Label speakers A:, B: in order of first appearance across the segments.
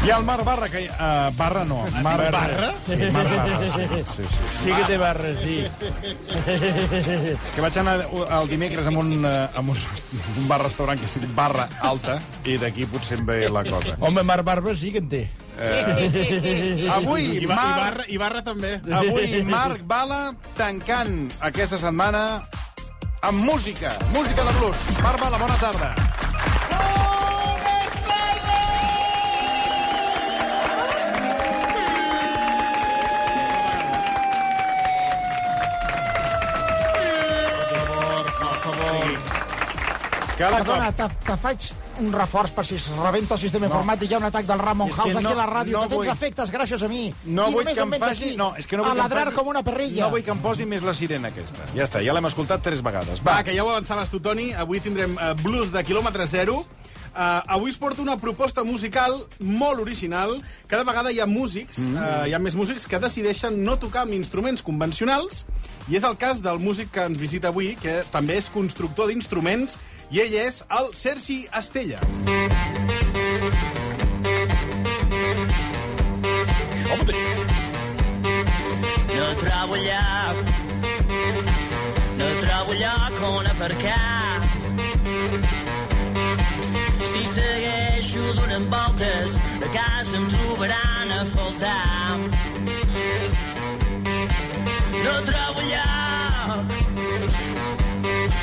A: I el Marc Barra, que... Uh, barra no. Marc Barra? Sí, Marc Barra. Sí, sí, sí.
B: Sí que té barres, sí.
A: És que vaig anar el dimecres amb un, eh, amb un, un bar-restaurant que es diu Barra Alta i d'aquí potser em ve la cosa.
B: Home, Marc Barba sí que en té.
A: Avui,
C: I, ba i,
A: Marc,
C: barra, I barra també.
A: avui Marc Bala tancant aquesta setmana amb música, música de blues. Marc Bala, bona tarda. Cada
D: Perdona, te, te faig un reforç per si es rebenta el sistema no. informàtic. Hi ha un atac del Ramon
A: És que
D: House aquí
A: no-
D: a la ràdio,
A: no
D: que tens
A: vull-
D: efectes gràcies a mi.
A: No
D: I
A: vull
D: només
A: que
D: em
A: em
D: vens
A: faci...
D: aquí
A: No, és que no vull
D: a
A: que em
D: ladrar
A: faci-
D: com una perrilla.
A: No vull que em posi més la sirena aquesta. Ja està, ja l'hem escoltat tres vegades.
C: Va, que ja ho avançaves tu, Toni. Avui tindrem eh, blues de quilòmetre zero. Uh, avui es porta una proposta musical molt original. Cada vegada hi ha músics,
A: Mhm.
C: mm. uh, hi ha més músics que decideixen no tocar amb instruments convencionals i és el cas del músic que ens visita avui, que també és constructor d'instruments i ell és el Sergi Estella.
E: Això mateix. No trobo lloc, no trobo lloc on aparcar. Si segueixo donant voltes, a casa em trobaran a faltar. No trobo lloc,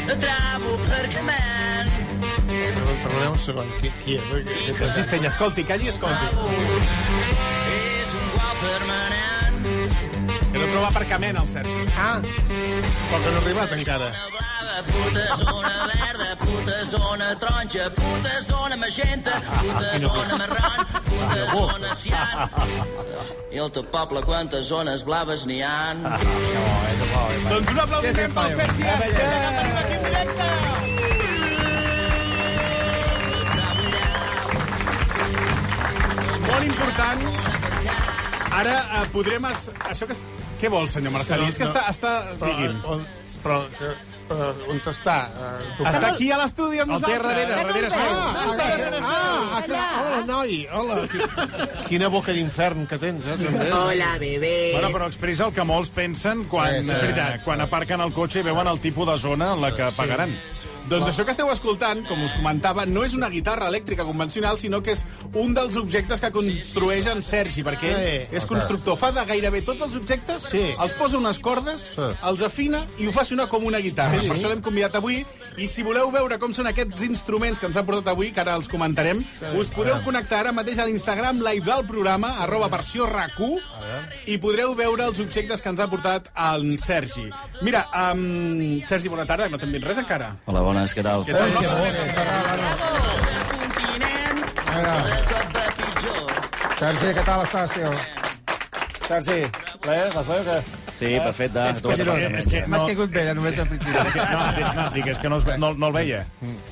E: no trobo aparcament.
B: Perdoneu un segon, qui, qui és? Aquest?
C: Sergi Estella, escolti, calli, escolti.
E: Trobo, és un guau permanent.
C: Que no troba aparcament, el Sergi.
B: Ah, però que no ha arribat encara.
E: Zona blava, puta zona verda, puta zona taronja, puta zona magenta, puta zona marron, puta zona cian. I al teu poble quantes zones blaves n'hi han.
C: Doncs un aplaudiment pel Sergi Estella, que tenim aquí en directe! Molt important. Ara eh, podrem... Es... Això que... es- Què vol, senyor Marcelí? És que està... està...
B: Però,
A: eh,
C: Digui'm.
B: on, però, que, però on està? Eh, tocant?
C: Està aquí a l'estudi amb
A: El té
C: nosaltres.
A: darrere, darrere seu.
B: Ah,
C: Està darrere seu.
B: ah, ah, clar. hola, noi, hola. Quina boca d'infern que tens, eh, també.
F: Hola, bebé.
A: Bueno, però expressa el que molts pensen quan,
B: Sí,
A: eh,
B: sí, és veritat.
A: quan aparquen el cotxe i veuen el tipus de zona en la que pagaran.
C: Doncs això que esteu escoltant, com us comentava, no és una guitarra elèctrica convencional, sinó que és un dels objectes que construeix en Sergi, perquè
B: Sí.
C: ell és constructor. Fa de gairebé tots els objectes,
B: Sí.
C: els posa unes cordes,
B: Sí.
C: els afina i ho fa sonar com una guitarra. Per això l'hem convidat avui. I si voleu veure com són aquests instruments que ens ha portat avui, que ara els comentarem, us podeu connectar ara mateix a l'Instagram live del programa, arroba versió RAC1, i podreu veure els objectes que ens ha portat en Sergi. Mira, um, Sergi, bona tarda, no t'hem dit res encara.
G: Hola, bones, què tal?
C: Què tal?
E: Continent, de cop va pitjor.
D: Sergi, què tal estàs, tio? Sergi, ple, les eh? veu que...
G: Sí, perfecte. Ets
A: Doncs És que no,
D: caigut bé, eh, només al principi.
A: és que, no, no, dic, és que no, es ve- no, no el veia.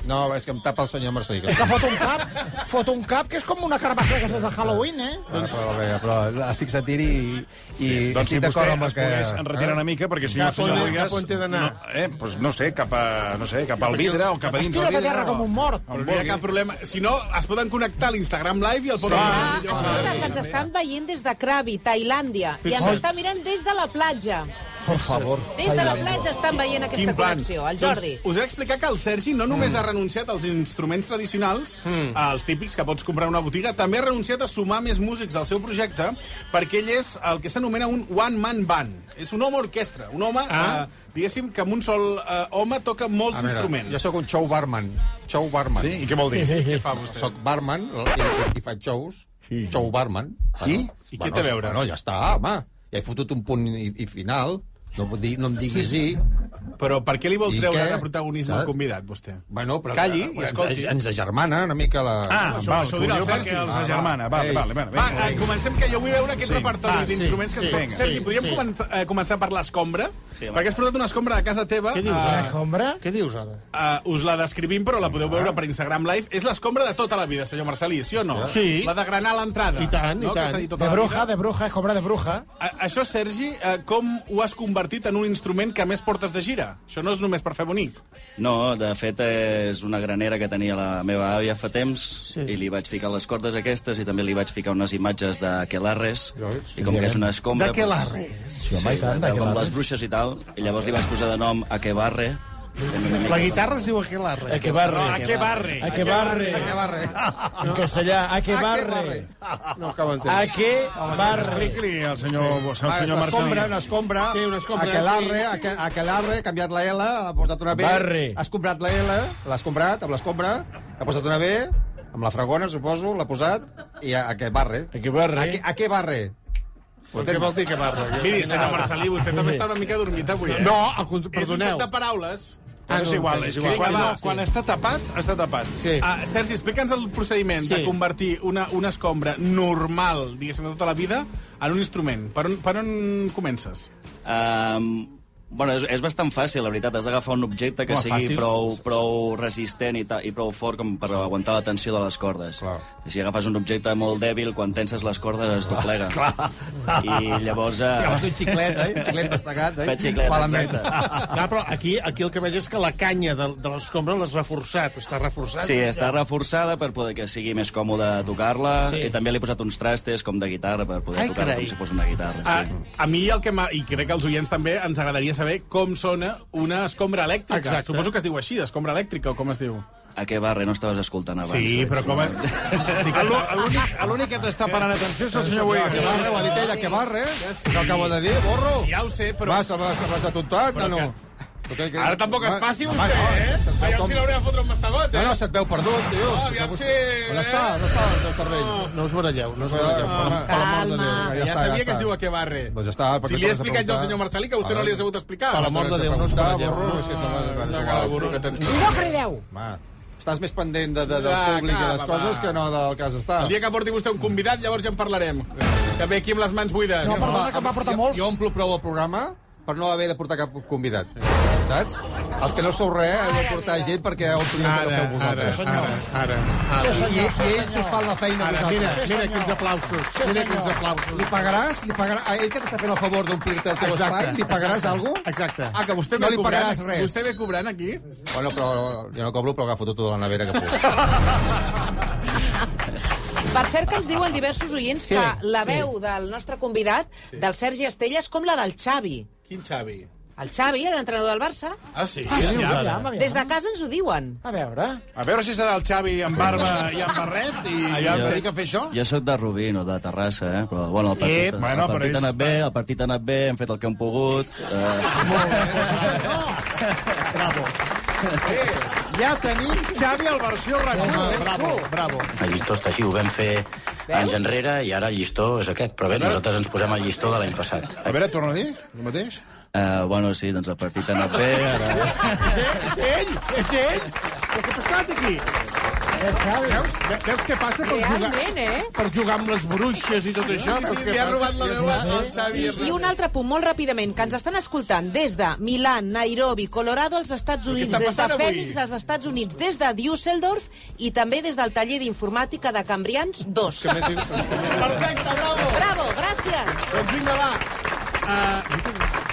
B: No, és que em tapa el senyor Marcelí. Que...
D: Que fot un cap, fot un cap, que és com una carbassa que és de Halloween, eh?
H: Però, bé, però estic sentint i, i sí,
A: Doncs si vostè
H: estic d'acord amb el
A: es
H: que...
A: pogués enretirar una mica, perquè si no,
B: Cap on-
A: senyor Boigas...
B: cap on té d'anar?
A: No, eh, doncs no sé, cap, a, no sé, cap al vidre o cap a dins. del
D: Tira't a
A: vidre,
D: terra
A: o-
D: com un mort.
C: Però no hi ha cap problema. Si no, es poden connectar a l'Instagram Live i el poden...
F: Ah,
C: Sí.
F: Escolta, que ens estan veient des de Krabi, Tailàndia, i ens estan mirant des de la platja.
B: Per favor.
F: Des de la platja estan veient aquesta connexió, el Jordi.
C: Doncs us he explicat que el Sergi no només mm. ha renunciat als instruments tradicionals, mm. als típics que pots comprar a una botiga, també ha renunciat a sumar més músics al seu projecte perquè ell és el que s'anomena un one-man band. És un home orquestra, un home, ah. eh, diguéssim, que amb un sol eh, home toca molts
H: A veure,
C: instruments.
H: Jo sóc un show barman. Show barman.
A: Sí, i què vol dir?
C: Què fa vostè?
H: Soc barman i, i faig shows. Sí. Show barman.
A: I?
C: I què té a veure?
H: Bueno, ja està, home. Ja he fotut un punt i, i final. No, vull dir, no em diguis sí,
C: Però per què li vol
H: I
C: treure
H: què?
C: de protagonisme al
H: Saps?
C: convidat, vostè?
H: Bueno, però... eh,
C: Calli i
H: ens-
C: escolti.
H: Ens, agermana una mica la...
A: Ah,
C: això-
A: val,
C: això ho dirà
A: curió
C: el Sergi.
A: perquè els
C: Ah, va.
A: agermana. Vale,
H: Ei.
A: vale, vale.
C: Va,
A: vinga.
C: eh, comencem, que jo vull veure aquest repertori
B: Va, sí, Ah,
C: d'instruments que
B: sí,
C: ens fem.
B: sí,
C: Sergi, podríem
B: sí.
C: començar, eh, començar per l'escombra?
G: Sí, va.
C: perquè has portat una escombra de casa teva.
B: Què dius,
C: eh,
B: ara?
D: Combra?
B: Què dius, ara?
C: eh, us la descrivim, però la podeu veure
B: Ah.
C: per Instagram Live. És l'escombra de tota la vida, senyor Marcelí, sí o no?
B: Sí.
C: La de granar a l'entrada.
B: I tant, i
C: no? Que
B: tant.
C: s'ha dit tota
D: De
C: la
D: bruja,
C: vida.
D: de bruja, és cobra de bruja.
C: A- Això, Sergi, eh, com ho has convertit en un instrument que a més portes de gira? Això no és només per fer bonic.
G: No, de fet, és una granera que tenia la meva àvia fa temps i li vaig ficar les cordes aquestes i també li vaig ficar unes imatges de quelarres i com que és una escombra...
D: De què l'arre? Sí, home, i tant, de
G: Doncs,
D: què
G: com les
D: l'arre.
G: bruixes i tal, i llavors li vaig posar de nom a Quebarre.
B: La guitarra es diu eh. Aquelarre.
I: A que barre.
C: A què barre?
I: A que barre.
B: Aquelarre.
I: En castellà,
H: Ah,
I: a que barre.
B: No acabo d'entendre.
I: A que barre.
A: Expliqui al senyor, sí. al
H: Va, és
A: senyor
H: escombra, una
A: Marcelí.
H: escombra,
B: Sí, una escombra,
H: aquelarre,
B: sí, sí.
H: aque- aquelarre, ha canviat la L, ha posat una B,
I: Barre.
H: has comprat la L, l'has comprat amb l'escombra, ha posat una B, amb la fragona, suposo, l'ha posat, i a, a què barre.
I: A que barre.
H: A, què- a què barre?
B: Però Què vol dir que barra?
C: Miri, senyor Marcelí, vostè també està una mica adormit avui, eh?
B: No, al contra-
C: És un joc
B: perdoneu.
C: de paraules.
A: Ah, no, és igual, és igual. Quan,
C: Vinga,
A: no,
C: va,
A: quan està tapat, està tapat.
B: Sí.
C: Ah, Sergi, explica'ns el procediment sí. de
B: Sí.
C: convertir una, una escombra normal, diguéssim, de tota la vida, en un instrument. Per on, per on comences?
G: Um, bueno, és, és bastant fàcil, la veritat. Has d'agafar un objecte que
C: Home,
G: sigui
C: fàcil.
G: prou, prou resistent i, ta, i prou fort com per aguantar la tensió de les cordes. Clar. Si agafes un objecte molt dèbil, quan tenses les cordes es doblega. Clar. I llavors... eh,
H: Ah. Un xiclet, eh? Un xiclet mastegat, eh?
G: Fa xiclet,
H: Malament.
G: exacte.
B: Clar, Ah, però aquí, aquí el que veig és que la canya de, de l'escombra l'has reforçat, està reforçat.
G: Sí, està reforçada per poder que sigui més còmode tocar-la
B: Sí.
G: sí. i també li he posat uns trastes com de guitarra per poder
B: Ai,
G: tocar-la
B: carai.
G: com si fos una guitarra.
C: A,
G: Sí.
C: Ah, a mi el que m'ha- i crec que als oients també ens agradaria saber com sona una escombra elèctrica.
B: Exacte.
C: Suposo que es diu així, escombra elèctrica, o com es diu?
G: A què barre? No estaves escoltant abans.
C: Sí,
G: oi?
C: però com... Sí que
A: L'únic l'únic que t'està parant atenció és el senyor Wiggins.
H: Que barre, ho ha dit ella, que barre. No acabo de dir, borro.
C: ja ho sé, però...
H: Però... Vas, vas, vas atontat o no? Que...
C: Ara tampoc es passi
H: no,
C: vostè, eh?
H: se't veu
C: Aviam
H: com-
C: si l'hauré de fotre un mastegot, eh?
H: No, no, se't veu perdut, tio.
C: No, aviam
H: Se't-
C: si-
H: On està? On està el teu cervell? Ah,
B: No us baralleu, no us baralleu.
H: Per
F: l'amor de Déu. Calma.
C: Ja, ja sabia que es diu a què barre.
H: Doncs ja està, per
C: si
H: què
C: li he
H: t'has de
C: explicat jo al
H: preguntar?
C: senyor Marcelí que vostè no li ha sabut explicar.
B: Per l'amor de Déu, no us
H: està,
B: baralleu.
H: borro, és que se m'ha- bueno, és
C: Una
H: igual.
C: cara de burro que tens tu.
I: No crideu.
H: Va, Estàs més pendent de, de, del
C: Va,
H: públic i de les
C: acaba,
H: coses
C: va.
H: que no del cas està.
C: El dia que porti vostè un convidat, llavors ja en parlarem. Que ve aquí amb les mans buides.
D: No, perdona, que em va portar molts.
H: Jo omplo prou el programa per no haver de portar cap convidat. Saps? Els que no sou res heu de portar gent perquè ompliu el que no feu vosaltres.
B: ara,
H: I, i, i ells us fan la feina a
B: ara. Mira,
H: vosaltres.
B: mira quins aplausos, mira quins aplausos.
H: Li pagaràs? Li pagaràs? A ell que t'està fent el favor d'omplir-te el teu espai, li pagaràs alguna cosa?
B: Exacte.
C: Ah, que vostè
H: No
C: ve
H: li
C: cobrant,
H: pagaràs res.
C: Vostè ve cobrant aquí?
H: Bueno, però jo no cobro, però agafo tot de la nevera que puc.
F: Per cert, que ens diuen diversos oients sí, que la sí. veu del nostre convidat, sí. del Sergi Estella, és com la del Xavi.
C: Quin Xavi?
F: El Xavi, l'entrenador del Barça,
C: Ah, sí?
D: Ah, sí,
C: Ja.
D: aviam, aviam.
F: des de casa ens ho diuen.
D: A veure...
A: A veure si serà el Xavi amb barba i amb barret i ja es dedica a fer això.
G: Jo sóc de Rubí, no de Terrassa, eh? Però, bueno, el partit,
A: Ep, bueno,
G: el
A: però
G: partit
A: ells
G: ha anat bé, el partit ha anat bé, hem fet el que hem pogut. Eh,
H: Ja tenim...
A: Xavi al versió eh? rac
B: Bravo, bravo.
E: El llistó està així, ho vam fer anys enrere i ara el llistó és aquest. Però bé, nosaltres ens posem al llistó de l'any passat.
A: A veure, torna a dir el mateix.
G: eh, bueno, sí, doncs el partit ha anat bé, ara...
B: És ell, és ell. Què ha passat aquí? Veus, ve- veus què passa per jugar,
F: Realment, eh?
B: per jugar amb les bruixes i tot això?
C: Sí,
B: Veus
C: sí,
B: què
C: li ha
B: passa?
C: robat la veu al Xavi.
F: I, I un altre punt, molt ràpidament, que ens estan escoltant des de Milan, Nairobi, Colorado, als Estats Units,
C: està
F: des de
C: passant avui?
F: Phoenix, als Estats Units, des de Düsseldorf i també des del taller d'informàtica de Cambrians 2.
C: Perfecte, bravo!
F: Bravo, gràcies!
C: Doncs vinga, va. Uh,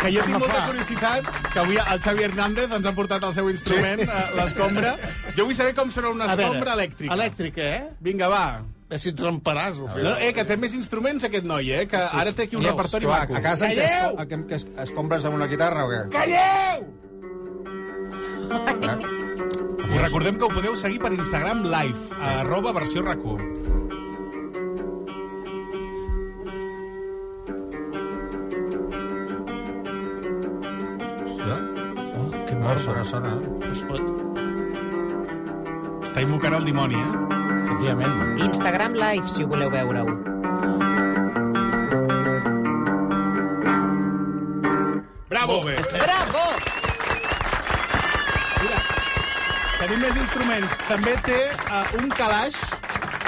C: que jo tinc molta curiositat que avui el Xavi Hernández ens ha portat el seu instrument, sí. l'escombra. Jo vull saber com serà una
B: A veure,
C: escombra elèctrica.
B: Elèctrica, eh?
C: Vinga, va.
B: A veure si et remparàs, al
C: No,
B: final.
C: eh, que té més instruments aquest noi, eh? Que ara té aquí un
B: Veus,
C: repertori
H: Clar,
C: maco.
H: a casa em que, esco- a que, em que es- escombres amb una guitarra o què?
C: I recordem que ho podeu seguir per Instagram live, a arroba versió RAC1.
H: Oh, que mort. Sona, sona.
C: Està invocant el dimoni, eh?
I: Efectivament.
F: Instagram Live, si ho voleu veure-ho.
C: Bravo!
F: Bravo!
C: Tenim més instruments. També té uh, un calaix.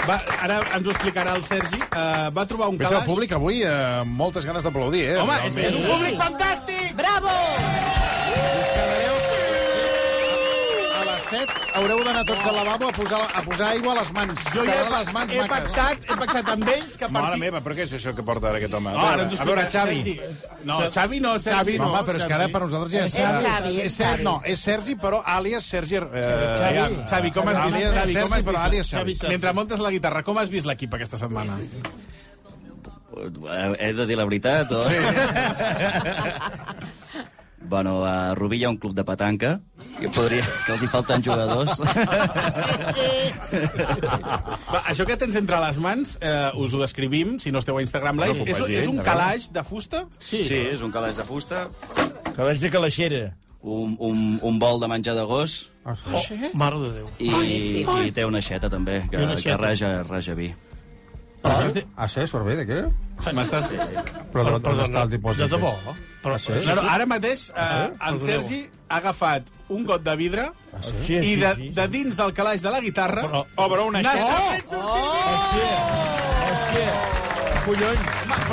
C: Va, ara ens ho explicarà el Sergi. Uh, va trobar un
A: Veig el
C: calaix...
A: públic avui eh, amb moltes ganes d'aplaudir, eh?
C: Home, és, és un públic fantàstic!
F: Bravo!
A: A les 7 haureu d'anar tots al lavabo a posar, a posar aigua a les mans.
C: Jo ja he,
A: Quedaran les mans
C: he,
A: maques.
C: pactat, he pactat amb ells que a
A: Mare
C: partir...
A: meva, però què és això que porta ara aquest home?
C: No,
A: a
C: ara
A: veure,
C: ens ho
A: a veure,
C: explicarà
A: Xavi.
C: Sergi. No, Xavi no, Sergi.
A: Xavi no, home, però és que ara per nosaltres ja
F: És Xavi, és
A: és Ser-
F: Xavi.
A: No, és Sergi, però àlies Sergi... Eh,
C: Xavi,
A: Ayam.
C: Xavi, com has vist?
A: Àlies
C: Xavi, com
A: Sergi,
C: has
A: però àlies
C: vist?
A: Xavi.
C: Mentre montes la guitarra, com has vist l'equip aquesta setmana?
G: Eh, He de dir la veritat, o...? Sí. bueno, a Rubí hi ha un club de petanca, que, podria, que els hi falten jugadors.
C: Va, això que tens entre les mans, eh, us ho descrivim, si no esteu a Instagram Live.
I: No,
C: és,
I: vagi,
C: és
I: a
C: un
I: veure.
C: calaix de fusta?
I: Sí.
G: sí, és un calaix de fusta,
I: Calaix de calaixera.
G: un, un, un bol de menjar de gos
I: Oh, mare de Déu.
G: i, i té una aixeta, també, que,
I: I una aixeta.
G: que raja, raja vi.
H: Ah, sí? Servei de què?
C: M'estàs...
H: Però d'on d'on està el dipòsit?
I: De debò. Però,
H: sí?
C: Claro, ara mateix eh, en
I: Perdoneu.
C: Sergi ha agafat un got de vidre
I: sí,
C: i
I: sí,
C: de,
I: sí.
C: de dins del calaix de la guitarra
I: Però-
C: obre una aixeta. Oh!
I: Hòstia. Collons.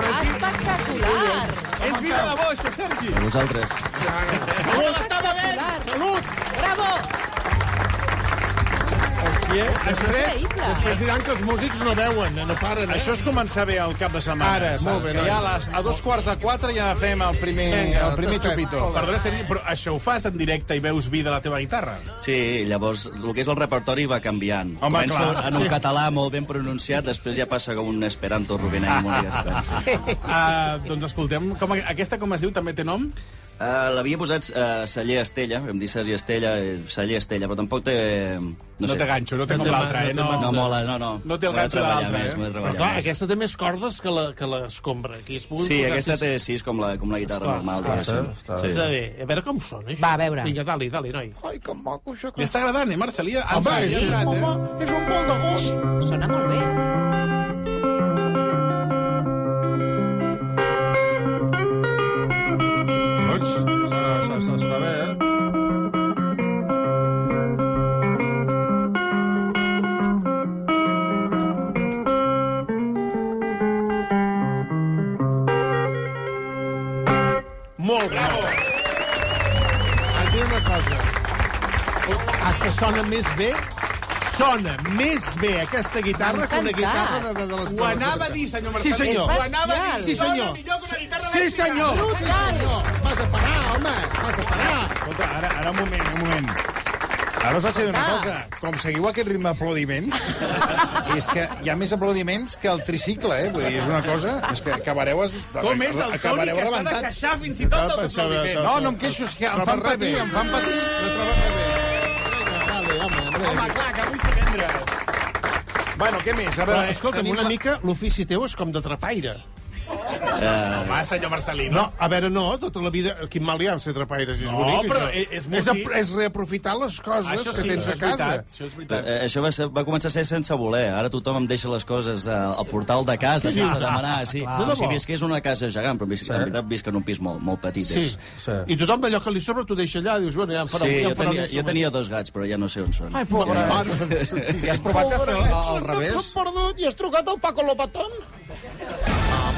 F: Espectacular!
C: És vida de bo, això, Sergi!
G: A vosaltres.
F: Estava bé! Salut! Bravo!
B: Després,
F: Increïble.
B: després diran que els músics no veuen, no paren, eh?
A: Això és començar bé el cap de setmana.
B: Ara, molt bé,
A: Que
B: noi.
A: Ja a, les, a dos quarts de quatre ja fem el primer,
B: Vinga,
A: el primer
B: tastet.
A: xupito.
C: Perdona, Sergi, però això ho fas en directe i veus vida a la teva guitarra?
G: Sí, llavors el que és el repertori va canviant.
A: Home,
G: Comença
A: clar.
G: en un català molt ben pronunciat, després ja passa com un esperanto rubenenc molt estrany.
C: Uh, doncs escoltem, com, a- aquesta com es diu també té nom?
G: Uh, L'havia posat uh, Celler Estella, vam dir Sergi Estella, eh, Celler Estella, però tampoc té...
C: No,
G: sé.
C: té ganxo, no té
B: No
C: com
B: té
C: l'altra,
B: mà,
C: eh?
B: no té
G: No mola, no, no.
C: No té el
G: M'he de
C: ganxo de
G: treballar
C: l'altra,
G: més,
C: eh?
G: m'he de treballar
I: Però clar,
G: més.
I: aquesta té més cordes que la, que l'escombra. Que es puguin
G: Sí,
I: posar
G: aquesta
I: sis-
G: té sis com la, com la guitarra
I: Esclar,
G: normal. diguéssim. Sí.
I: Està bé. A veure com sona, això.
F: Va, a veure.
I: Vinga, dali, dali, noi.
D: Ai, que maco, això.
C: Li està agradant, eh, Marcelí? Ens
B: Home,
C: ha
B: sí,
C: agradat, eh?
D: és un bol de gos.
F: Sona molt bé.
H: Collons.
D: Sona, sona, sona bé, eh?
B: Molt bé. Et diré una cosa. Hasta sona més bé sona més bé aquesta guitarra que una
F: Encantat.
B: guitarra de, de, de les
C: Ho anava a dir, senyor
B: Sí,
C: Marcelí.
B: senyor.
C: Ho anava a dir.
B: Sí, senyor.
C: Sona millor que una guitarra
B: Sí,
C: elèctrica.
B: senyor. Sí, senyor. Vas a parar, home. Vas a parar.
A: Escolta, ara, ara un moment, un moment. Ara us vaig dir una
F: Ah.
A: cosa. Com seguiu aquest ritme d'aplaudiments, és que hi ha més aplaudiments que el tricicle, eh? Vull dir, és una cosa... És que acabareu... Es...
C: Com és el Toni
A: acabareu
C: que s'ha de
A: rebentats.
C: queixar fins i tot dels aplaudiments.
A: No, no em queixo, és que em
H: Però
A: fan
H: per
A: patir,
H: bé.
A: em fan patir.
H: No treballa bé.
B: Vinga, Dale, home,
C: Home,
B: home.
C: clar, que avui és divendres.
A: Bueno, què més? A
I: Però,
A: veure,
B: eh,
I: escolta'm,
A: tenim
I: una
A: la-
I: mica l'ofici teu és com de trapaire.
C: Home, senyor Marcelí,
B: No, a veure, no, tota la vida... Quin mal hi ha en ser trapaire, si és
C: No,
B: bonic,
C: però e,
B: això.
C: és- és molt
B: a-
C: fi-
B: és reaprofitar les coses
C: Això
B: que
C: sí,
B: tens
C: això
B: a
C: és
B: casa.
C: veritat. Això és
G: Però,
C: veritat.
G: eh, això va, ser, va començar a ser sense voler. Ara tothom em deixa les coses eh, al portal de casa, sense demanar. Sí.
I: clar.
G: Com si
I: De debò.
G: visqués una casa gegant, però visc, en veritat visc en un pis molt, molt petit.
I: Sí.
G: és.
I: sí. I tothom allò que li sobra t'ho deixa allà, dius, bueno, ja em farà,
G: sí
I: ja
G: jo,
I: em farà
G: tenia,
I: un
G: jo tenia dos gats, però ja no sé on són.
I: Ai, pobre.
H: I has provat de fer al revés?
I: perdut i has trucat al Paco Lopatón?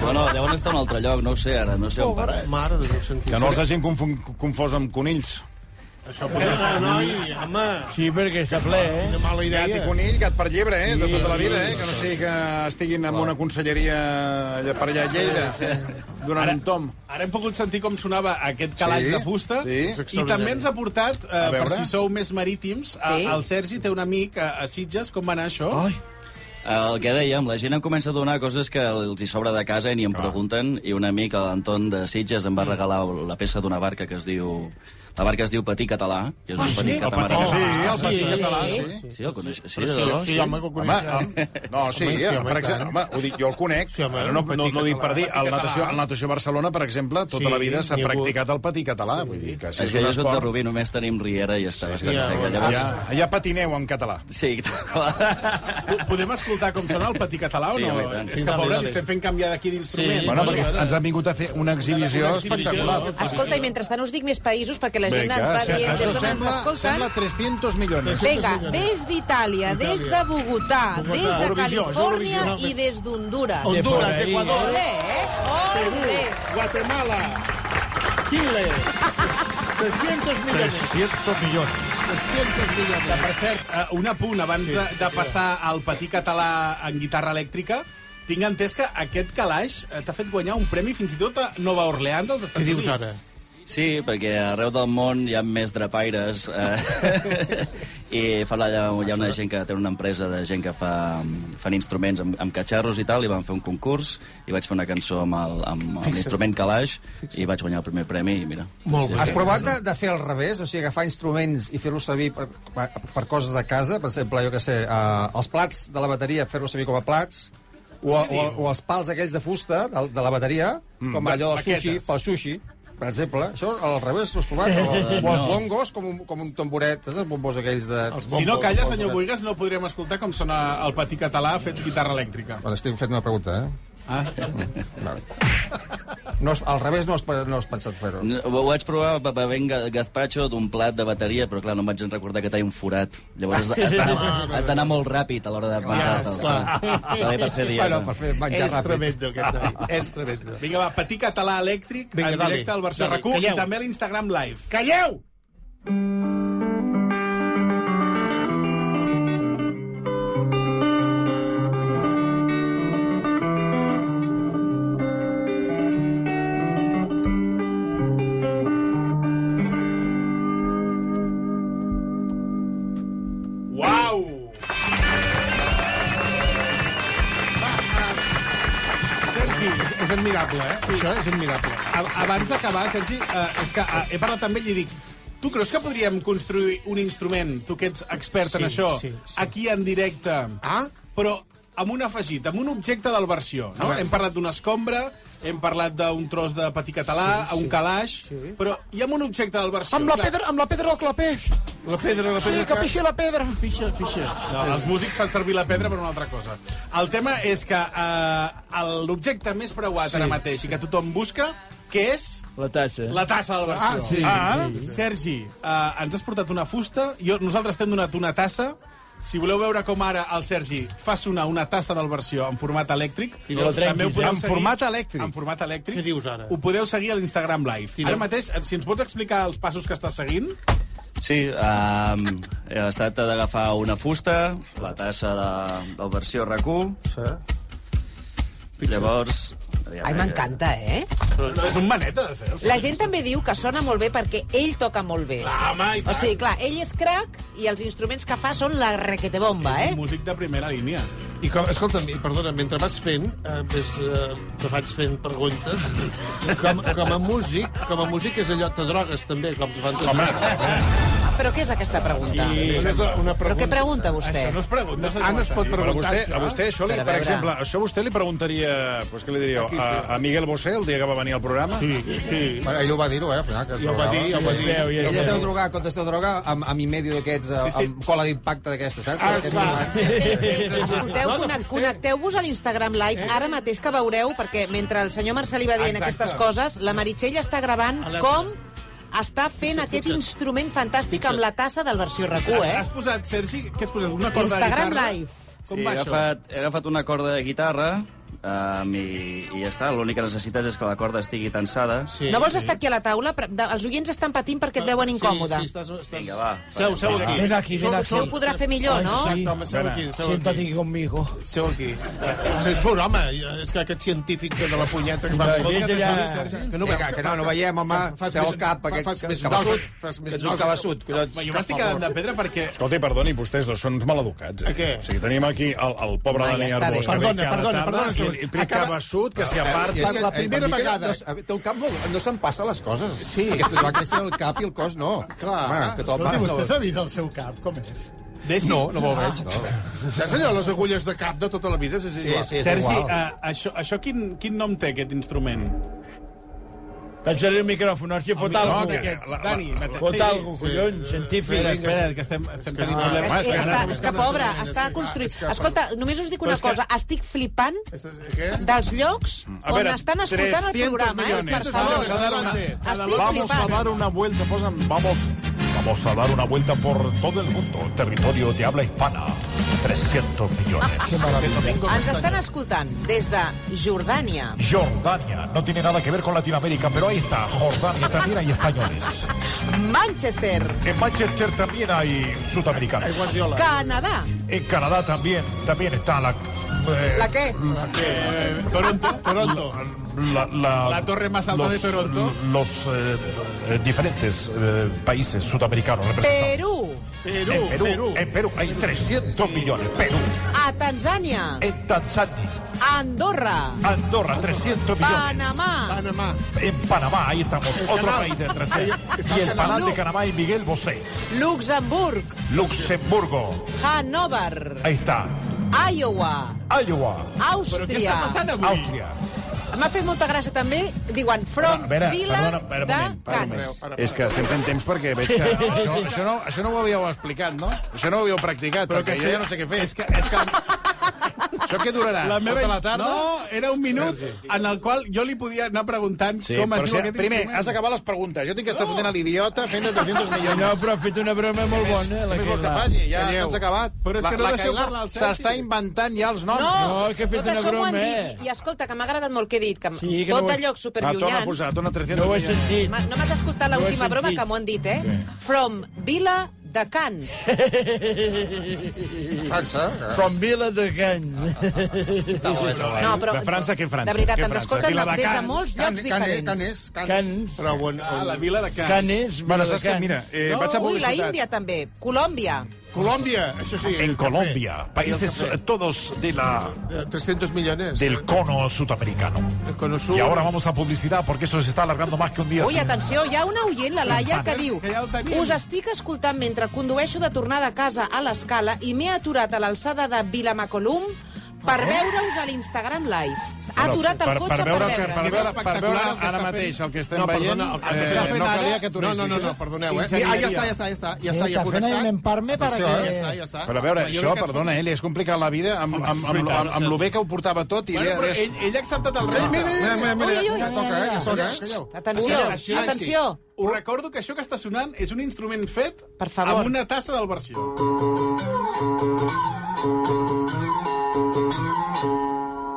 G: No, no, deuen estar a un altre lloc, no ho sé ara, no sé on parar.
I: Mare de Déu, sentit.
A: Que no els hagin confon, confós amb conills.
I: Ah, noi, home. Sí, perquè està ple, eh?
B: Quina mala
A: Gat i
B: idea.
A: conill, gat per llebre, eh? De tota la vida, eh? Que no sigui que estiguin en una conselleria allà per allà a Lleida, donant un tom.
C: Ara hem pogut sentir com sonava aquest calaix
A: Sí,
C: de fusta
A: sí. És
C: i també ens ha portat, eh, per
A: veure.
C: si sou més marítims, a,
F: Sí.
C: el Sergi té un amic a, a Sitges. Com va anar això?
A: Oh.
C: Ai.
G: El que dèiem, la gent em comença a donar coses que els hi sobra de casa i ni em pregunten, i un amic, l'Anton de Sitges, em va regalar la peça d'una barca que es diu La barca es diu Patí Català, que és un
A: Ah, sí?
G: petit
A: El
G: catamarà.
A: Patí Català,
G: català.
A: sí, el Patí Català, sí.
G: Sí, el coneix. Sí,
A: Però sí,
G: de debò,
A: sí, home, que el coneix. Home, no, sí,
G: Home, sí,
A: eh,
G: home,
A: per
G: i
A: exemple,
G: tant.
A: home, ho dic, jo el conec, ara no, no, no, dic per dir, el natació, el natació Barcelona, per exemple, tota
G: Sí,
A: la vida s'ha
G: n'hi ha hagut.
A: practicat el patí català, vull dir que si
G: És
A: és
G: que
A: un
G: jo soc de
A: esport...
G: Rubí, només tenim Riera i està
A: Hi
G: bastant
A: ha,
G: seca.
A: hi ha, hi ha patineu en català.
G: Sí,
C: Podem escoltar com sona el patí català o
A: Sí,
C: no?
A: home, i tant.
C: És que, pobret, estem fent canviar d'aquí d'instrument.
A: Bueno, perquè ens han vingut a fer una exhibició
C: Una exhibició.
A: espectacular.
F: Escolta, i mentrestant us dic més països perquè la gent
A: Vinga,
F: ens va
A: sí,
F: dient...
A: això
F: des d'on ens
A: sembla-
F: escolten.
D: Sembla 300 millones.
F: Vinga, des d'Itàlia, des de Bogotà, des de
D: Eurovisió, és
F: Califòrnia
D: Eurovisió.
F: i des d'Hondures.
B: Honduras, Ecuador.
F: Olé, eh? Olé.
B: Guatemala, Xile, 300 milions.
C: 300
B: 300
C: milions. Que,
B: milions.
C: per cert, eh, un apunt abans
B: Sí,
C: de, de
B: sí.
C: passar al patí català en guitarra elèctrica, tinc entès que aquest calaix eh, t'ha fet guanyar un premi fins i tot a Nova Orleans dels Estats Units.
G: Sí, perquè arreu del món hi ha més drapaires eh, i fa la, hi ha una gent que té una empresa de gent que fa, fan instruments amb, amb catxarros i tal, i van fer un concurs i vaig fer una cançó amb el- amb
H: Fixa't.
G: l'instrument calaix i vaig guanyar el primer premi i mira. sí,
H: Has
G: sí.
H: provat de, de fer al revés? O sigui, agafar instruments i fer-los servir per, per, per coses de casa? Per exemple, jo que sé, eh, els plats de la bateria, fer-los servir com a plats? O, o, o els pals aquells de fusta de, de la bateria,
D: Mm,
H: mm, com allò del
D: baquetes.
H: sushi, pel sushi, per exemple. Això al revés l'has provat? O, o els
C: No.
H: bongos, com un, com un tamboret, saps? Els bombos aquells de...
C: Si no calla, senyor Boigas, no podrem escoltar com sona el patí català fet guitarra elèctrica.
H: Bueno, estic fent una pregunta, eh?
C: Ah.
H: Vale. No, has- al revés no has, pe- no has pensat fer-ho.
G: No, Ho vaig provar be- bevent ga- gazpacho d'un plat de bateria, però clar, no em vaig recordar que tenia un forat. Llavors has de- has d'anar has d'anar molt ràpid a l'hora de menjar.
B: esclar.
G: També per fer dieta.
H: Bueno, per fer menjar
B: és
H: ràpid.
B: tremendo, aquest noi. És tremendo.
C: Vinga, va, patí català elèctric
B: Vinga,
C: en
B: dale.
C: directe al Barça
B: Dale,
C: RAC1 i
B: calleu.
C: també a l'Instagram Live.
B: Calleu!
C: Uau! Sergi,
B: és, és admirable, eh? Sí. Això és admirable.
C: A- Abans d'acabar, Sergi, eh, és que eh, he parlat també i dic Tu creus que podríem construir un instrument, tu que ets expert
B: Sí,
C: en això,
B: sí, sí.
C: aquí en directe,
B: ah?
C: però amb un afegit, amb un objecte del versió,
B: A
C: no?
B: veure.
C: Hem parlat d'una escombra, hem parlat d'un tros de patí català,
B: Sí,
C: sí, un
B: sí.
C: calaix,
B: Sí.
C: sí. però hi ha un objecte del versió.
J: Amb la
C: clar.
J: pedra, amb la pedra o clapés.
B: La pedra, la pedra.
J: Sí, que pixi la pedra.
B: Pixa, pixa.
C: No, els músics fan servir la pedra per una altra cosa. El tema és que eh, el- l'objecte més preuat sí, ara mateix i que tothom busca, que és
I: La tassa.
C: la tassa del versió.
I: Ah, sí, sí.
C: Sergi, eh, ens has portat una fusta, jo, nosaltres t'hem donat una tassa, si voleu veure com ara el Sergi fa sonar una tassa del versió en format elèctric,
I: I no la trenquis,
C: també ho
I: eh?
C: podeu
I: En
C: seguir...
I: format elèctric.
C: En format elèctric.
I: Què dius ara?
C: Ho podeu seguir a l'Instagram Live.
I: Tira.
C: Ara mateix, eh, si ens pots explicar els passos que estàs seguint...
G: Sí, um, es tracta d'agafar una fusta, la tassa de, del versió RAC1... Sí. Llavors...
F: Ai, m'encanta, eh?
C: No, és un manetes, eh?
F: La gent també diu que sona molt bé perquè ell toca molt bé.
C: Clar, home, i
F: o
C: tant.
F: sigui, clar, ell és crac i els instruments que fa són la requetebomba,
C: És
F: eh?
C: un músic de primera línia.
B: I com, escolta'm, i perdona, mentre vas fent, eh, ves, eh, te vaig fent preguntes, com, com a músic, com a músic és allò, te drogues també, com se fan tots. Home,
F: Però què és aquesta pregunta?
B: una, una
F: Però què pregunta vostè?
C: Això no es pregunta, senyor
B: Ah, no es pot
A: Però
C: Massaguer.
A: a vostè,
B: això.
A: a vostè això, li,
F: Per a
A: per
F: veure.
A: exemple, això vostè li preguntaria, pues, què li diríeu, a, a Miguel Bosé, el dia que va venir al programa?
B: Sí, sí.
H: Bueno, ell ho va dir-ho, eh, al final. Que es
B: Ja ho va
H: drogava.
B: dir, ja ho va dir. Ja ho
H: Ell
B: va
H: es deu
B: dir.
H: drogar, quan es deu drogar, amb, amb i medio d'aquests, sí,
B: sí.
H: sí. amb cola d'impacte d'aquesta, saps?
B: Ah,
H: Aquests
B: esclar.
H: drogats.
F: Escolteu, connec- connecteu-vos a l'Instagram Live ara mateix que veureu, perquè mentre el senyor Marcelí va dient
B: Exacte.
F: aquestes coses, la Meritxell està gravant
B: Alerta.
F: com està fent aquest instrument fantàstic amb la tassa del versió RAC1,
C: Has,
F: eh?
C: has posat, Sergi, què has posat? Una corda
F: Instagram
C: de guitarra?
F: Live.
C: Com va
G: sí, he
C: això?
G: agafat, he agafat una corda de guitarra um, i, i ja està. L'únic que necessites és que la corda estigui tensada. Sí.
F: No vols estar aquí a la taula? Pre- de- Els oients estan patint perquè et veuen incòmode.
B: Sí, sí, estàs... estàs...
G: Vinga, va.
B: Seu, seu aquí.
J: Ven aquí, ven
B: Seu-
J: aquí.
B: seu-
F: Ho podrà fer millor, no?
B: Exacte, home, seu aquí, seu
J: Siéntate
B: aquí.
J: aquí conmigo.
B: Seu aquí. Se surt, home, és que aquest científic de la punyeta que va...
I: Vols que te soni,
B: Sergi?
H: Que no, veus, que, no, no veiem, home,
B: Fas
H: fas té el
B: més-
H: cap,
B: fa-
H: aquest
B: fas més
H: cabassut,
B: nosa, fas més
H: que ets un
B: nosa.
H: cabassut, collons.
C: Jo m'estic quedant de pedra perquè...
A: Escolta, i perdoni, vostès dos són maleducats.
B: A què?
A: O sigui, tenim aquí el, el pobre
F: Home, ja està
A: Dani
F: bé.
A: Arbós. que ve
B: Perdona,
A: cada
B: perdona,
A: tarda
B: perdona,
A: i
C: primer cabeçut que s'hi aparta.
D: És que
H: eh,
C: La primera
D: em dic que
C: vegada.
D: No, s- té un cap molt... No se'n passa les coses. Sí. Aquestes va créixer el cap i el cos no.
B: Clar.
K: Ah,
D: Home, que te'l
J: Escolti,
D: vas-
J: vostè s'ha vist el seu cap, com és?
D: No, no me'l veig, no.
J: Saps allò, les agulles de cap de tota la vida? És igual.
C: Sergi, eh, això, això quin, quin nom té, aquest instrument?
I: Pensa-li el micròfon, hòstia, fot
C: No,
I: alguna
C: que-
I: cosa, aquest.
C: la- la-
I: Dani,
C: la-
I: fot
C: sí,
I: alguna
C: sí.
I: cosa, collons, científic.
C: Espera, espera, que estem, estem tenint problemes.
F: és, que, és que Eh, pobre, està construït. Escolta, només us dic
C: Però
F: una
C: és que-
F: cosa. Estic flipant
J: què?
F: dels llocs
A: Mm. A
F: on
A: veure,
F: estan escoltant el
A: 300
F: programa. Eh? Per
A: millones.
F: favor,
A: Vamos a dar una-
F: estic
A: Vamos a
F: flipant.
A: dar una vuelta, posen, vamos, vamos a dar una vuelta por todo el mundo, territorio de habla hispana, 300 millones.
F: Ens estan escoltant des de Jordània,
A: Jordania, no tiene nada que ver con Latinoamérica, pero ahí está, Jordania, también hay españoles.
F: Manchester,
A: En Manchester también hay sudamericanos.
F: Canadà,
A: En Canadá también, también está la... eh,
F: la què?
C: Eh, Toronto.
J: Toronto.
A: La,
C: La torre más alta de Toronto.
A: Los eh, eh, diferentes eh, países sudamericanos representados.
F: Perú,
J: Perú,
A: en Perú, En Perú hay 300 millones. Perú,
F: a Tanzània,
A: en Tanzania,
F: a Andorra,
A: Andorra, 300 millones.
F: Panamá,
J: Panamá.
A: En Panamá, ahí estamos, otro
J: canal.
A: país de 300.
J: Ahí está
A: Y
J: el
A: el
J: canal.
A: Panal de Canamá y Miguel Bosé.
F: Luxemburg,
A: Luxemburgo,
F: Hannover,
A: ahí está.
F: Iowa,
A: Iowa,
F: Àustria.
A: Àustria.
F: M'ha fet molta gràcia també, diuen, from
A: A veure,
F: Vila
A: perdona, espera un
F: de
A: moment, para un moment.
F: Cans.
A: És que estem fent temps perquè veig que...
I: Això, això, no, això no ho havíeu explicat, no? Això no ho havíeu practicat,
C: Però
I: però
C: que
I: perquè
C: sí.
I: jo ja no sé què fer.
C: És que, és que
I: Això què durarà?
C: la meva...
I: Tota la tarda?
C: No, era un minut en el qual jo li podia anar preguntant
I: Sí,
C: com es
I: però
C: diu
I: si-
C: aquest
I: primer,
C: instrument.
I: has acabat les preguntes. Jo tinc que estar fotent a l'idiota fent de 200 milions. No, però ha fet una broma molt bona. La
H: Què
I: que
H: vols que faci? Ja
J: Calleu.
H: s'ha acabat.
C: Però és que no
H: la,
C: deixeu
H: Cailà
C: parlar al Sergi.
H: S'està inventant ja els noms.
F: No,
I: No, que he fet
F: tot
I: una
F: això m'ho han
I: broma,
F: dit. I, I escolta, que m'ha agradat molt el que he dit, que
I: Sí, que
F: tot
I: no ho
F: de
I: has-
A: Ah,
F: llocs
H: Va, torna a
F: superllunyans...
H: posar, torna 300
I: No ho he
H: milions.
I: sentit.
F: Ma- No m'has escoltat
I: No ho he
F: l'última broma
I: sentit.
F: que m'ho han dit, eh? From Vila de Cans.
D: França.
A: Ah.
D: eh?
I: From Vila de Can.
F: No, però...
A: De França, què França?
F: De veritat,
A: Què
F: ens
A: França?
F: escolten
A: Vila de
F: des de
A: Cans.
F: molts
D: Can-
F: llocs
D: Canes,
F: diferents.
D: Canes, Canes.
I: Can.
J: Però on, on...
C: Ah, La vila de Can.
I: Can és Vila
A: Bueno,
I: de
A: saps què?
I: Can.
A: Mira, eh, vaig a
F: Ui, la
A: publicitat.
F: Índia també. Colòmbia.
J: Colombia, això sí. el
A: En
J: cafè.
A: Colombia, países
J: café.
A: eh, todos de la,
J: Eh, 300 millones.
A: del cono sudamericano.
J: El cono sur.
A: Y ahora vamos a publicidad porque eso se está alargando más que un día.
F: Ui, atenció, hi ha una oient, la Laia, que diu
C: que ja ho tenim.
F: Us estic escoltant mentre condueixo de tornada a casa a l'escala i m'he aturat a l'alçada de Vilamacolum per veure-us a l'Instagram Live. Ha aturat el cotxe per,
A: veure el que-
F: veure's.
A: per
C: És
A: veure, per
C: espectacular
A: veure
C: el que
A: ara
C: està fent.
A: mateix el que estem
J: No,
A: veient, eh,
J: perdona, el que
C: està fent
A: no
C: ara-
A: calia que
J: No,
A: aturessis.
J: no, no, no, perdoneu, eh?
C: Ingenieria.
J: Ah, ja està, ja està, ja està, ja està, ja connectat. eh,
I: emparme per
J: Ja està, ja està.
A: Però a veure,
C: Home, jo
A: això,
C: crec que ens
A: perdona, eh, li has complicat la vida amb, amb, amb, amb, amb, amb lo bé que ho portava tot i
C: Bueno,
A: bueno,
C: però
A: és...
C: ell, ell ha acceptat el repte.
J: Mira, mira,
F: Ui, ui, ui.
D: Ja toca, eh? Ja toca, eh?
J: Calleu.
F: Atenció,
J: Silenci.
F: atenció.
C: Us recordo que això que està sonant és un instrument fet
F: Per favor.
C: amb una tassa d'alversió.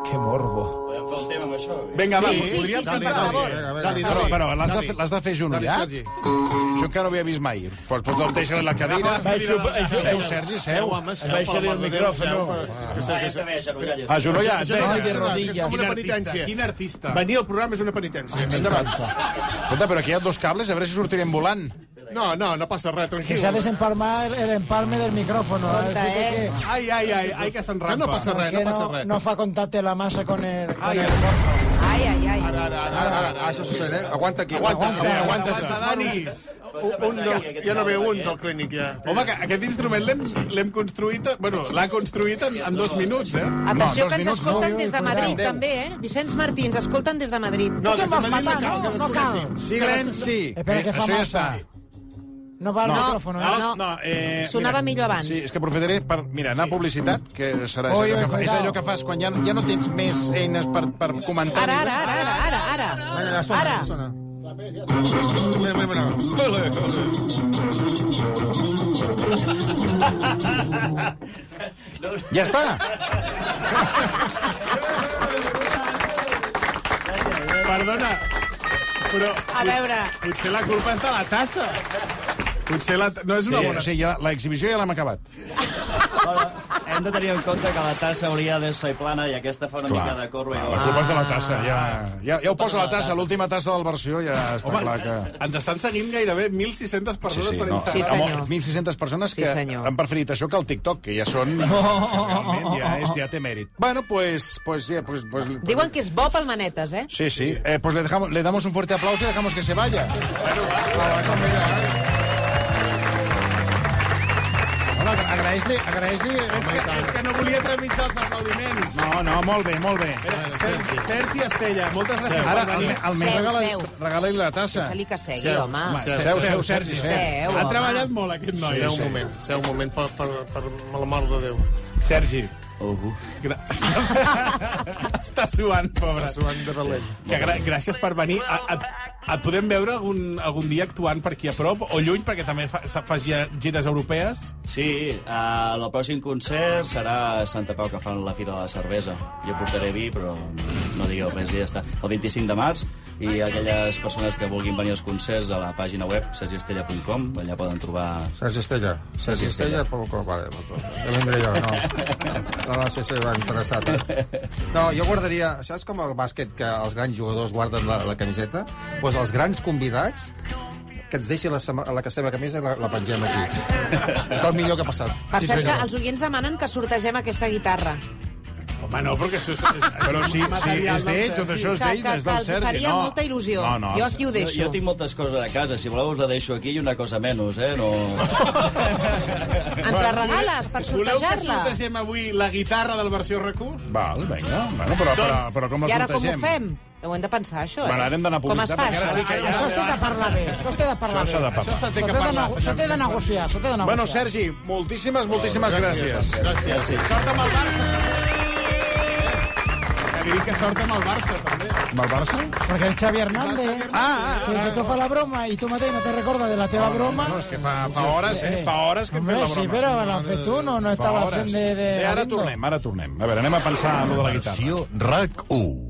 D: Que morbo.
G: Podem fer un tema amb això?
C: Vinga, va,
F: Sí, sí,
C: podríem-
F: sí, sí, per favor.
J: Dali,
A: Però,
J: dali.
A: però l'has de,
J: Dali.
A: fer- l'has de fer
J: Dali,
A: genollat?
J: Sergi.
A: Això encara no ho havia vist mai. Pues, pues doncs deixa la cadira. Seu, Sergi, seu.
J: Seu, home, seu,
I: Em baixaré
J: per
I: el
J: l'amor de Déu,
I: micròfon,
J: seu,
I: no.
J: per- que
G: Ah,
J: sé, que
G: ja
J: sé.
G: també, genollat.
A: Ah, genollat.
J: Això no
A: eh?
J: és
D: de
J: res, és
D: rodilles.
J: com una penitència.
C: Quin artista.
J: Venir al programa és una penitència. Endavant.
A: Escolta, però aquí hi ha dos cables, a veure si sortirem volant.
J: No, no, no passa res, tranquil.
K: desemparmar el emparme del micrófono.
F: Compte, eh?
C: Ai, ai, ai, ai, que
J: Que
C: s'enrampa.
J: no passa res, no passa res.
K: fa contacte la masa con el...
C: Ai, ai.
F: Ai, ai, ai.
J: Ara, ara, ara,
D: Ara,
J: ara,
D: ara, això succeeix, eh? Aguanta aquí.
J: Aguanta,
D: aguanta.
J: aguanta, aguanta.
C: Avança, Dani.
J: Un, un, del- ja no veu un del clínic, ja.
C: Home, que aquest instrument l'hem l'hem construït... Bueno, l'ha construït en, en dos minuts, eh?
F: Atenció,
A: dos
F: que ens
A: minuts,
F: escolten
A: no.
F: des de Madrid, també, eh? Vicenç Martí, ens escolten des de Madrid.
J: No, des de
K: vols
J: Madrid
K: matar?
J: cal,
K: No,
J: que
K: no cal.
J: desconnectin.
I: Silenci.
K: Espera, que fa
A: Eh, això ja
K: massa.
A: està.
K: No va al micròfon, eh?
F: No,
A: eh,
F: Sonava millor abans.
A: Sí, és que aprofitaré per... Mira, anar a publicitat, que serà és
K: Oi,
A: allò
K: oi,
A: que, fa, és
K: cuidao.
A: allò que fas quan ja, ja no tens més eines per, per comentar.
F: Ara, ara, ara, ara, ara, ara.
D: Ja sona,
F: Ara.
D: ja sona. Mira, mira, mira.
A: Ja està!
C: Perdona, però...
F: A veure.
C: Potser la culpa és de la tassa. Potser la... ta- No és
A: Sí,
C: una bona...
A: o sigui, ja, l'exhibició ja l'hem acabat.
G: hem de tenir en compte que la tassa hauria de ser plana i aquesta fa una
A: Clar,
G: mica de corba.
A: La culpa és de la tassa, ja, ja, ja ho posa la tassa, l'última tassa de la versió, ja està
C: Home,
A: clar que...
C: Ens estan seguint gairebé 1.600 persones
A: Sí,
C: per
A: no,
C: Instagram.
A: amb 1.600 persones que han preferit això que el TikTok, que ja són... Realment, ja, és, ja té mèrit. Bueno, pues, pues, ja, pues, pues,
F: Diuen que és bo pel Manetes, eh?
A: Sí, sí. Eh, pues le, dejamos, le damos un fuerte aplauso y dejamos que se vaya. Hola, agraeix-li, agraeix-li...
C: És que, Oh és que no volia trepitjar els aplaudiments.
A: No, no, molt bé, molt bé.
C: Sergi, Sergi Estella, moltes gràcies
A: Ara,
C: per
A: al,
C: venir.
A: almenys regala, regala-li la tassa.
F: Deixa-li que segui,
A: Seu,
F: home.
A: Seu, seu, seu, Sergi, eh? seu.
F: Seu,
C: Ha treballat molt, aquest noi.
J: Seu un
C: Sí, sí.
J: moment, seu un moment, per, per, per la mort de Déu.
C: Sergi.
G: Algú.
C: Està suant, pobre.
J: Està suant de valent.
C: Que gra gràcies per venir. A, a, et podem veure algun, algun dia actuant per aquí a prop o lluny, perquè també fa, sa- fas gi- gires europees?
G: Sí, eh, el pròxim concert serà a Santa Pau, que fan la Fira de la Cervesa. Jo portaré vi, però no digueu res, i ja està. El 25 de març, i aquelles persones que vulguin venir als concerts a la pàgina web sergiestella.com, allà poden trobar...
D: Sergi Estella. Sergi Estella, pel cor. Vale, doncs, ja vindré jo, no. No, no sé si va interessat. Eh?
H: No, jo guardaria... Saps com el bàsquet que els grans jugadors guarden la, la camiseta? Doncs pues els grans convidats que ens deixi la, sema- la seva camisa i la, la pengem aquí. És el millor que ha passat.
F: Per cert, que els oients demanen que sortegem aquesta guitarra.
C: Home, no, perquè això és... és
A: Però sí, sí, és d'ell, tot això és
F: Que-
A: d'ell,
F: que-
A: és
F: que
A: del
F: els
A: Sergi.
F: faria molta il·lusió. No, no, Jo aquí ho deixo.
G: Jo, jo tinc moltes coses a casa. Si voleu us la deixo aquí i una cosa menys, eh? No...
F: Ens la regales per
C: Voleu que
F: sortejar-la?
C: sortegem avui la guitarra del versió RAC1?
A: Val, vinga. Bueno, però, però, però com
F: I
A: la
F: ara com ho
A: sortegem?
F: fem? Ho hem de pensar, això, eh?
A: Bueno, ara hem d'anar a
F: Com es
A: publicitat,
F: fa,
A: perquè ara
F: això?
A: sí que ja-
K: Això s'ha de parlar bé, això s'ha de parlar
A: Això
K: bé.
A: s'ha de parlar. Això s'ha de
K: S'ha de
A: parlar,
K: nego- S'ha de negociar, s'ha de negociar.
A: Bueno, Sergi, moltíssimes, moltíssimes gràcies.
C: Gràcies. Sort amb el Barça. Que dic que sort amb el Barça, també.
A: Amb el Barça?
K: Perquè el Xavi Hernández, ah, ah, que, que tu fa la broma i tu mateix no te recordes de la teva broma...
A: No, és que fa, fa hores, eh? Fa hores que hem
K: Hombre,
A: fet la broma.
K: sí, però l'ha fet tu, no, no
A: Fa
K: estava
A: hores.
K: fent de... de
A: Eh, ara tornem, ara tornem. A veure, anem a pensar en lo de la guitarra.
L: RAC 1.